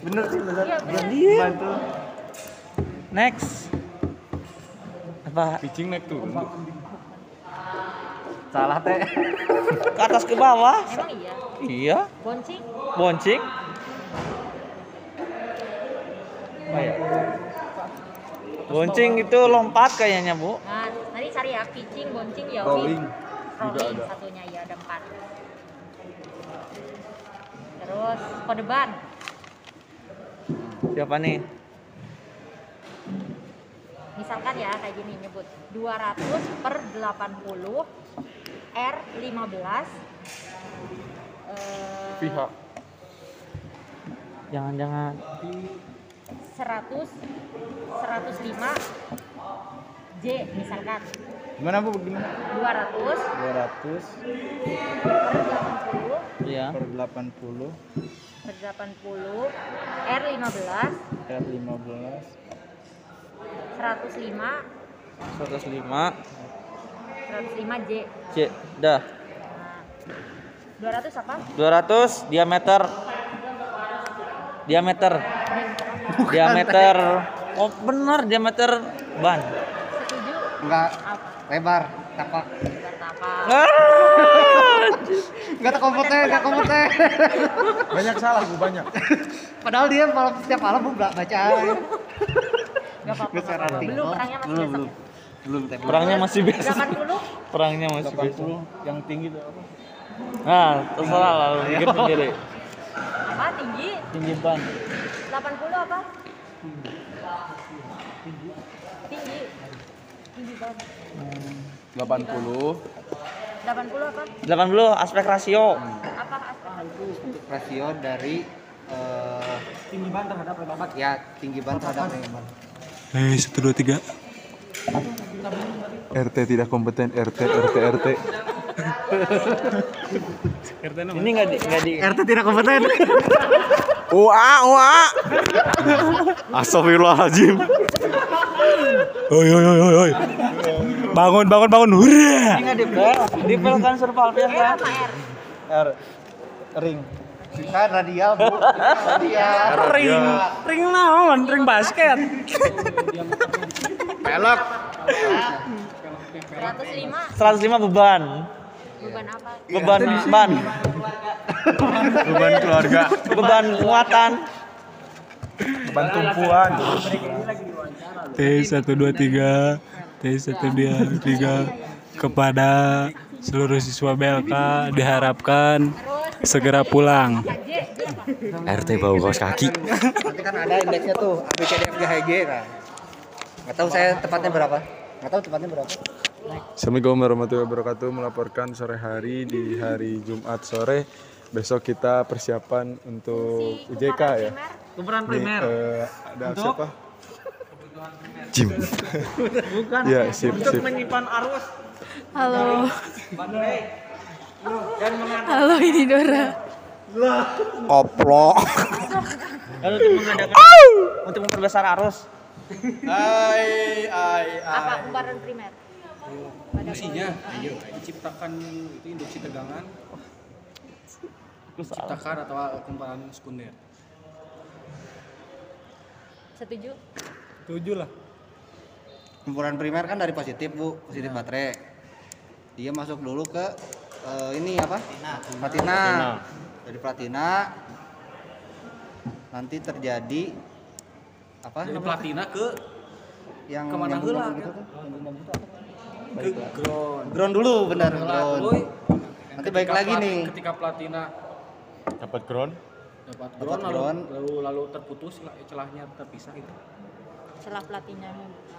S1: bener sih bener
S2: Iya, bener.
S1: bantu
S4: next apa
S6: Picing naik turun. Bu.
S1: salah teh
S4: ke atas ke bawah
S2: Emang iya.
S4: iya
S2: Boncing.
S4: boncing
S1: oh, ya.
S4: iya. boncing itu lompat kayaknya bu
S2: Nah, tadi cari ya pitching, boncing, ya.
S6: Rolling juga
S2: Rolling
S6: ada.
S2: satunya ya ada empat. Terus kode ban.
S4: siapa nih
S2: Misalkan ya kayak gini nyebut 200 per 80 R 15 eh,
S6: Pihak.
S4: jangan-jangan
S2: 100 105 J misalkan
S3: Gimana Bu? Gimana? 200
S2: 200 per 80
S4: iya
S3: per 80
S2: per 80 R 15
S3: per 15
S2: 105
S4: 105
S2: 105 J
S4: C dah
S2: Nah, 200 apa?
S4: 200 diameter diameter diameter oh benar diameter ban
S2: Setuju?
S1: enggak
S2: Apa?
S1: lebar tapak
S2: Kata apa?
S4: Ah,
S1: enggak tak kompeten enggak kompeten
S6: Banyak salah bu banyak.
S1: padahal dia malam setiap malam bu baca aja.
S2: Gak apa-apa.
S1: Besar
S2: gak
S1: arti.
S2: apa-apa. Belum, orangnya masih
S1: belum
S2: besok.
S1: belum belum teh belum.
S4: perangnya masih biasa
S2: 80
S4: perangnya masih biasa
S3: 80 yang tinggi itu apa?
S4: nah terserah lah lu pikir sendiri
S2: apa tinggi?
S3: Iya. Tinggi ban.
S2: 80 apa? Tinggi. Tinggi banget.
S6: 80
S2: 80 apa?
S4: 80 aspek rasio
S3: Hmm.
S2: Apa aspek?
S1: rasio dari eh,
S5: Tinggi ban terhadap lebar.
S1: ya tinggi ban terhadap lebar
S6: Eh, satu dua tiga. RT tidak kompeten, RT, RT, RT.
S4: ini nggak di nggak di
S1: RT [laughs] tidak kompeten
S6: Ua, ua. Astagfirullahaladzim. Oi, oi, oi, oi, oi. Bangun, bangun, bangun. Hurrah.
S4: ini nggak di pel ya, di pel kan serpal pel
S2: R
S4: kan
S2: apa R?
S3: R ring.
S1: kan radial bu radial
S4: ring ring naon ring basket
S2: 105
S4: 105 beban
S2: beban apa?
S4: beban ban
S6: Beban keluarga.
S4: beban muatan
S6: Beban tumpuan. T satu dua tiga. T satu dua tiga. Kepada seluruh siswa BLK diharapkan
S2: Terus
S6: segera pulang.
S2: J, J apa?
S6: RT bau kaos kaki.
S1: nanti kan ada indeksnya tuh A B C D F G H I, J nah nggak tahu saya tepatnya berapa nggak tahu tepatnya berapa
S6: Assalamualaikum warahmatullahi wabarakatuh melaporkan sore hari di hari Jumat sore besok kita persiapan untuk IJK ya
S4: keberan
S6: Ini, eh, ada siapa Jim bukan ya sip sip
S4: menyimpan arus
S7: Halo. Halo, ini Dora.
S6: oplok
S4: lalu untuk mengadakan untuk memperbesar arus
S2: Apa kubaran primer?
S5: Induksinya, diciptakan itu induksi tegangan, diciptakan atau kumparan sekunder.
S2: Setuju?
S1: kumpulan primer kan dari positif bu positif baterai dia masuk dulu ke eh, ini apa platina dari platina nanti terjadi apa
S5: Dari
S1: namanya?
S5: platina ke
S1: yang
S5: kemana
S1: yang
S5: heula,
S1: bukan
S5: kan?
S1: itu tuh?
S5: ke ground.
S1: ground dulu benar
S5: Setelah
S1: ground
S5: boy,
S1: nanti
S5: ketika
S1: balik lagi
S5: plati-
S1: nih
S5: Ketika platina
S6: dapat ground
S5: dapat ground, lalu,
S1: ground.
S5: lalu lalu terputus celah- celahnya terpisah gitu.
S2: Celah pelatihnya.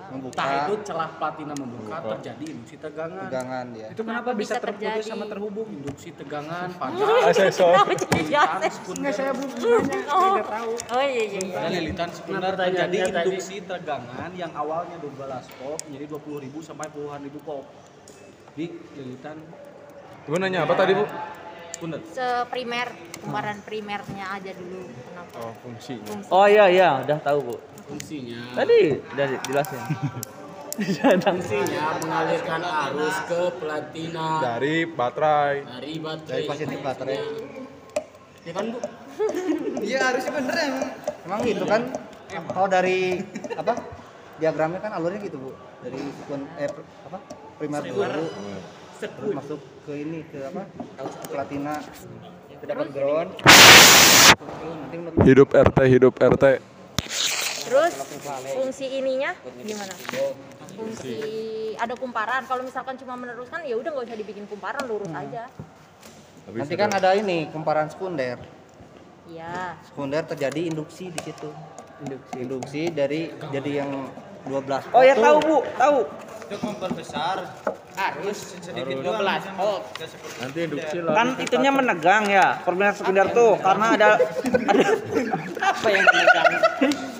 S1: membuka
S5: Entah itu celah platina membuka terjadi induksi tegangan.
S1: pegangan dia
S5: Itu kenapa bisa
S2: bisa
S5: terputus
S2: terjadi?
S5: sama terhubung induksi tegangan
S6: Iya, Ah,
S5: panas
S6: asesor
S2: Kenapa jadi
S5: lilitan
S2: jahat?
S5: sekunder
S2: Oh, oh iya iya iya.
S5: dan lilitan sekunder terjadi induksi tegangan yang awalnya 12 kop menjadi 20.000 sampai puluhan ribu kop di lilitan
S6: bu nanya apa tadi bu
S5: sekunder
S2: Seprimer, kubaran primernya aja dulu. Kenapa?
S6: oh fungsinya
S4: oh iya iya udah tahu bu
S5: fungsinya
S4: tadi udah dijelasin
S8: fungsinya mengalirkan arus ke platina
S1: Ah.
S6: dari baterai
S8: dari
S1: dari
S8: baterai
S1: positif baterai
S8: ya kan bu
S1: [laughs] iya harusnya bener emang emang gitu kan kalau dari apa diagramnya kan alurnya gitu bu dari sekun eh pr- apa primer dulu terus masuk ke ini ke apa ke platina
S8: Ya,
S1: ke double ground nanti menurut
S6: hidup RT hidup RT
S2: Terus fungsi ininya gimana? Fungsi ada kumparan. Kalau misalkan cuma meneruskan ya udah nggak usah dibikin kumparan, lurus aja.
S1: nanti kan ada ini kumparan sekunder
S2: Iya.
S1: sekunder terjadi induksi di situ induksi induksi dari jadi yang 12
S4: Oh ya tahu bu, tahu.
S6: nanti induksi lah
S4: Kan itunya menegang ya, koordinat sekunder tuh karena ada [laughs] ada apa yang menegang?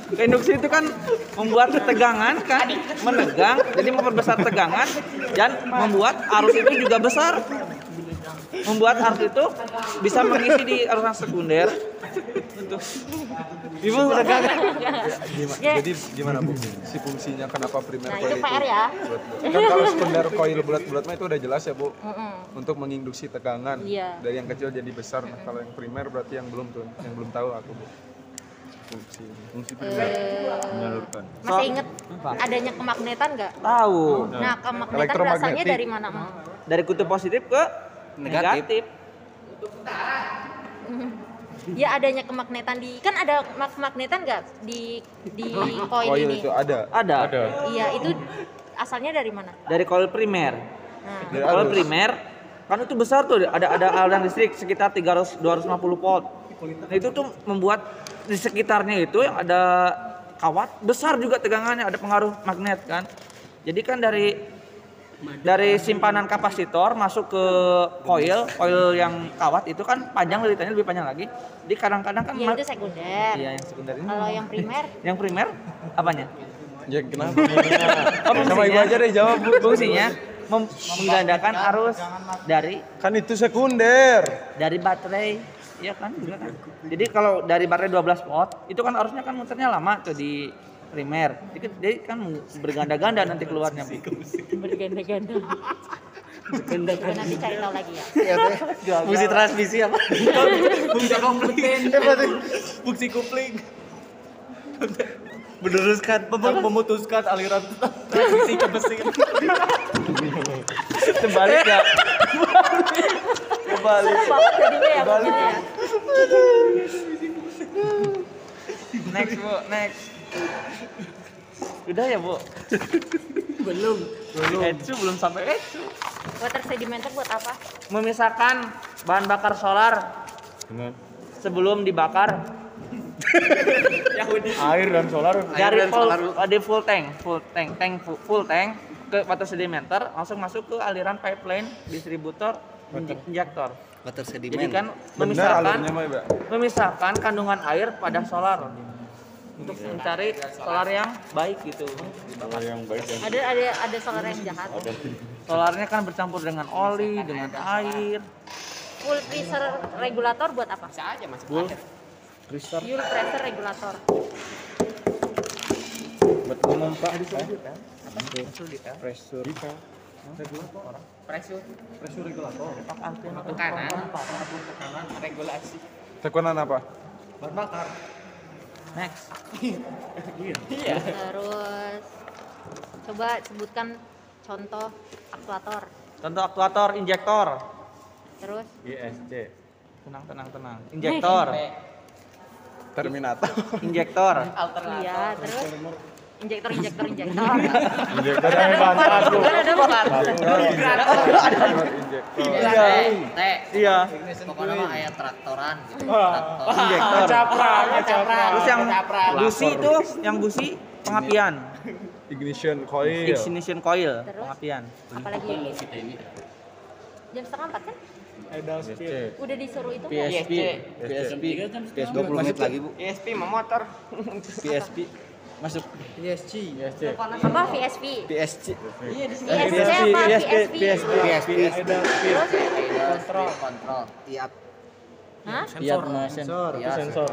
S4: Induksi itu kan membuat ketegangan kan, menegang, jadi memperbesar tegangan dan membuat arus itu juga besar. Membuat arus itu bisa mengisi di arus yang sekunder. Tuh. Ibu menegang.
S1: Iya.
S6: jadi gimana bu si fungsinya kenapa primer
S2: Nah,
S6: coil
S2: itu
S6: itu
S2: PR ya.
S6: bulat- kan kalau sekunder coil bulat-bulat mah itu udah jelas ya bu untuk menginduksi tegangan
S2: Iya.
S6: dari yang kecil jadi besar nah kalau yang primer berarti yang belum tuh yang belum tahu aku bu fungsi fungsi primer
S2: Eh,
S6: menyalurkan
S2: Masih inget adanya kemagnetan nggak?
S4: Tahu.
S2: Nah, kemagnetan
S6: Elektromagnetik.
S2: rasanya dari mana? Mang?
S4: Dari kutub positif ke
S1: Negatif.
S4: negatif.
S2: Ya adanya kemagnetan di kan ada mag- magnetan nggak di di koin ini?
S6: coil Oh, iya, itu ada
S4: Ada.
S2: Iya, itu asalnya dari mana?
S4: Dari koil primer.
S2: Nah,
S6: Dari
S4: Kalau
S6: arus.
S4: primer kan itu besar tuh ada ada aliran listrik sekitar 300 250 volt. Nah, itu tuh membuat di sekitarnya itu yang ada kawat besar juga tegangannya ada pengaruh magnet kan. Jadi kan dari dari simpanan kapasitor masuk ke coil, coil yang kawat itu kan panjang liritannya lebih panjang lagi. Jadi kadang-kadang kan
S2: ya
S4: ma-
S2: itu sekunder.
S4: iya yang sekunder ini.
S2: Kalau yang primer
S4: Yang primer apanya?
S6: ya kenapa
S2: [laughs]
S4: Oh,
S6: sama ibu aja deh jawab bu
S4: Fungsinya mem- menggandakan arus dari
S6: kan itu sekunder
S4: dari baterai ya kan juga kan jadi kalau dari baterai 12 volt itu kan harusnya kan muternya lama tuh di primer jadi kan- jadi kan berganda-ganda nanti keluarnya Bu.
S6: [laughs]
S2: berganda-ganda. Berganda-ganda. Nanti cari tahu lagi ya.
S4: fungsi transmisi apa
S5: fungsi kupling meneruskan mem- memutuskan aliran transmisi ke mesin
S4: terbalik ya
S2: Seru banget jadinya ya. pokoknya ya.
S4: next bu next udah ya bu
S8: belum
S4: Etsu belum sampai eh, Etsu
S2: Water sedimenter buat apa?
S4: memisahkan bahan bakar solar sebelum dibakar
S5: air dan solar
S4: dari full dari full tank full tank tank full, full tank ke water sedimenter langsung masuk ke aliran pipeline distributor inj- injektor
S1: water sediment
S4: jadi kan
S6: bener
S4: memisahkan
S6: alurnya mah Mbak.
S4: memisahkan kandungan air pada solar untuk
S5: Iya.
S4: mencari solar yang baik gitu
S2: Ada ada ada solar yang jahat.
S4: solarnya kan bercampur dengan oli dengan air
S2: Full freezer regulator buat apa?
S8: bisa aja masuk full
S2: Fuel pressure regulator.
S3: buat ngomong pak
S8: pressure
S4: Apaan tuh?
S8: tekanan regulasi
S6: tekanan apa
S4: next
S8: Iya.
S2: Terus coba sebutkan contoh aktuator.
S4: contoh aktuator injektor
S2: Terus
S4: tenang tenang [laughs] tenang injektor
S6: terminator
S4: injektor
S2: iya, terus injektor injektor injektor. [laughs]
S6: injektor
S2: Kan ada empat.
S6: injektor
S8: T
S4: iya
S8: pokoknya mah ayat traktoran gitu
S4: injektor
S8: caprak
S4: terus yang busi itu yang busi pengapian
S6: ignition coil
S4: ignition coil
S2: Terus?
S4: pengapian
S2: Apalagi jam setengah empat kan? Udah disuruh itu nggak?
S3: PSP PSP PSP
S1: 20 menit lagi bu
S4: ESP mau motor
S3: PSP masuk
S2: Apa VSP?
S3: PSC
S2: Iya, VSP apa VSP?
S1: PSP
S2: Terus?
S8: kontrol kontrol
S1: iya
S2: Hah?
S9: Iya,
S6: Iya,
S3: lihat sensor
S8: sensor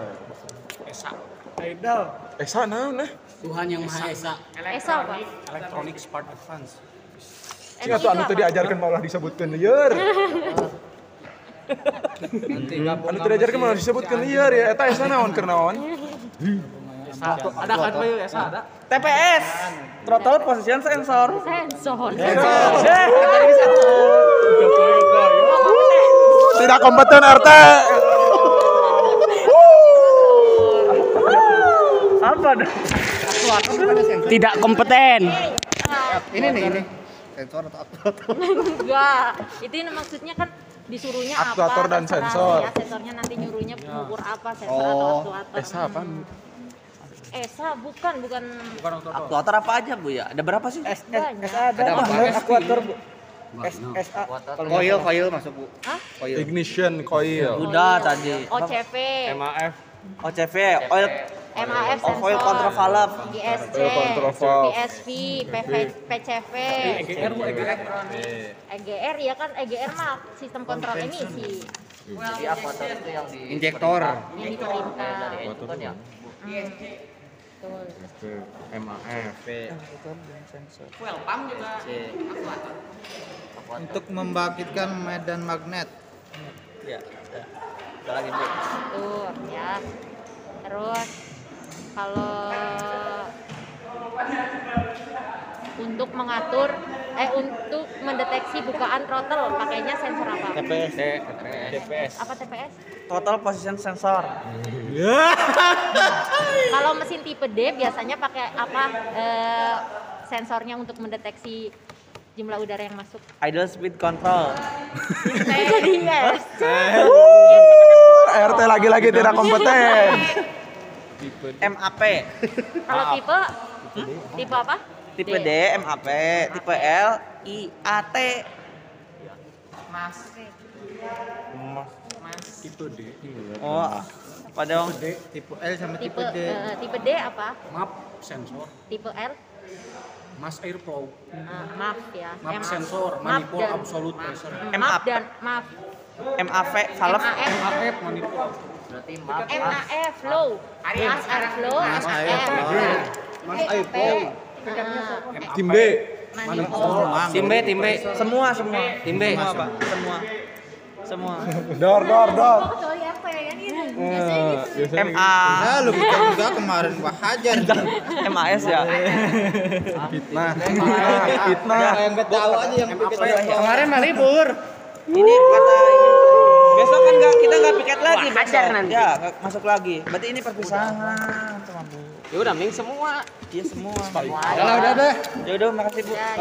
S6: Esa naon nah.
S9: Tuhan yang Maha Esa.
S2: Esa apa?
S5: Electronic Spark Advance.
S2: Esa
S6: Cing
S2: itu
S6: atuh anu teu
S2: apa?
S6: diajarkeun malah disebutkeun lieur.
S5: Nanti
S6: Anu teu diajarkeun malah disebutkeun lieur ya. Eta esa naon keur naon?
S5: Ada kan Bayu Esa ada?
S4: TPS throttle position sensor
S7: Sensor.
S4: Eh,
S6: Iya.
S4: kata dia bisa.
S6: Tidak kompeten RT.
S4: apa dong
S9: Tidak kompeten.
S1: Ini nih ini. Sensor atau apa?
S2: Enggak. Itu yang maksudnya kan disuruhnya apa?
S6: Aktuator dan
S2: terserah,
S6: sensor. Iya. Oh,
S2: Ya, sensornya nanti nyuruhnya mengukur apa, sensor atau aktuator. Esa apa? Esa bukan, bukan
S4: aktuator apa aja bu ya ada berapa sih
S2: banyak.
S4: ada aktuator bu
S1: Koil koil masuk bu.
S2: Hah?
S1: Koil.
S6: Ignition coil.
S4: udah tadi
S2: OCV,
S4: OCV oil
S2: MAF
S8: Oh,
S2: sensor,
S4: oil control valve
S2: ISC,
S6: Oil control valve.
S2: PSV, PV, PCV, EGR ya kan EGR mah sistem kontrol emisi
S8: Jadi apa tuh itu yang di
S1: Injektor.
S2: yang diperintah.
S8: dari Edison ya?
S1: Untuk membangkitkan medan magnet.
S2: Tuh, ya. Terus kalau untuk mengatur eh untuk mendeteksi bukaan throttle pakainya sensor apa? TPS. Apa TPS?
S4: throttle position sensor
S2: Kalau mesin tipe D biasanya pakai apa eh, sensornya untuk mendeteksi jumlah udara yang masuk?
S4: idle speed control
S2: [laughs] Jadi yes.
S6: RT lagi-lagi tidak kompeten.
S4: MAP
S2: Kalau tipe hmm? tipe apa?
S4: tipe D MAP tipe L IAT
S5: Tipe D.
S4: oh apa dong
S1: Tipe L sama
S2: Tipe
S1: tipe D.
S2: eh, tipe D apa?
S5: Map sensor,
S2: Tipe L
S5: mass airflow,
S2: Ah, maaf ya.
S5: map
S2: MAF.
S5: sensor,
S2: Maaf
S5: manifold
S2: dan-
S5: absolute pressure.
S2: maaf dan maaf
S4: MAV valve
S2: MAF
S5: AF manifold.
S8: Berarti map
S2: MAF low Mas air flow Mas air Mas air flow
S6: Tim B.
S4: timbe timbe semua semua timbe semua semua semua
S6: Dor dor dor.
S2: kecuali apa ya kan ini
S6: Eh, biasanya
S4: MA
S1: Ah, lu bukan juga kemarin Pak Hajar.
S4: MAS ya
S1: Nah,
S6: fitnah.
S1: yang gak tahu aja yang kemarin mah libur.
S4: ini kata ini besok kan nggak kita nggak piket lagi besok ya nggak masuk lagi berarti ini perpisahan sama bu
S9: Ya udah, ming semua.
S4: dia semua
S1: Iya, Udah udah deh.
S4: ya udah makasih bu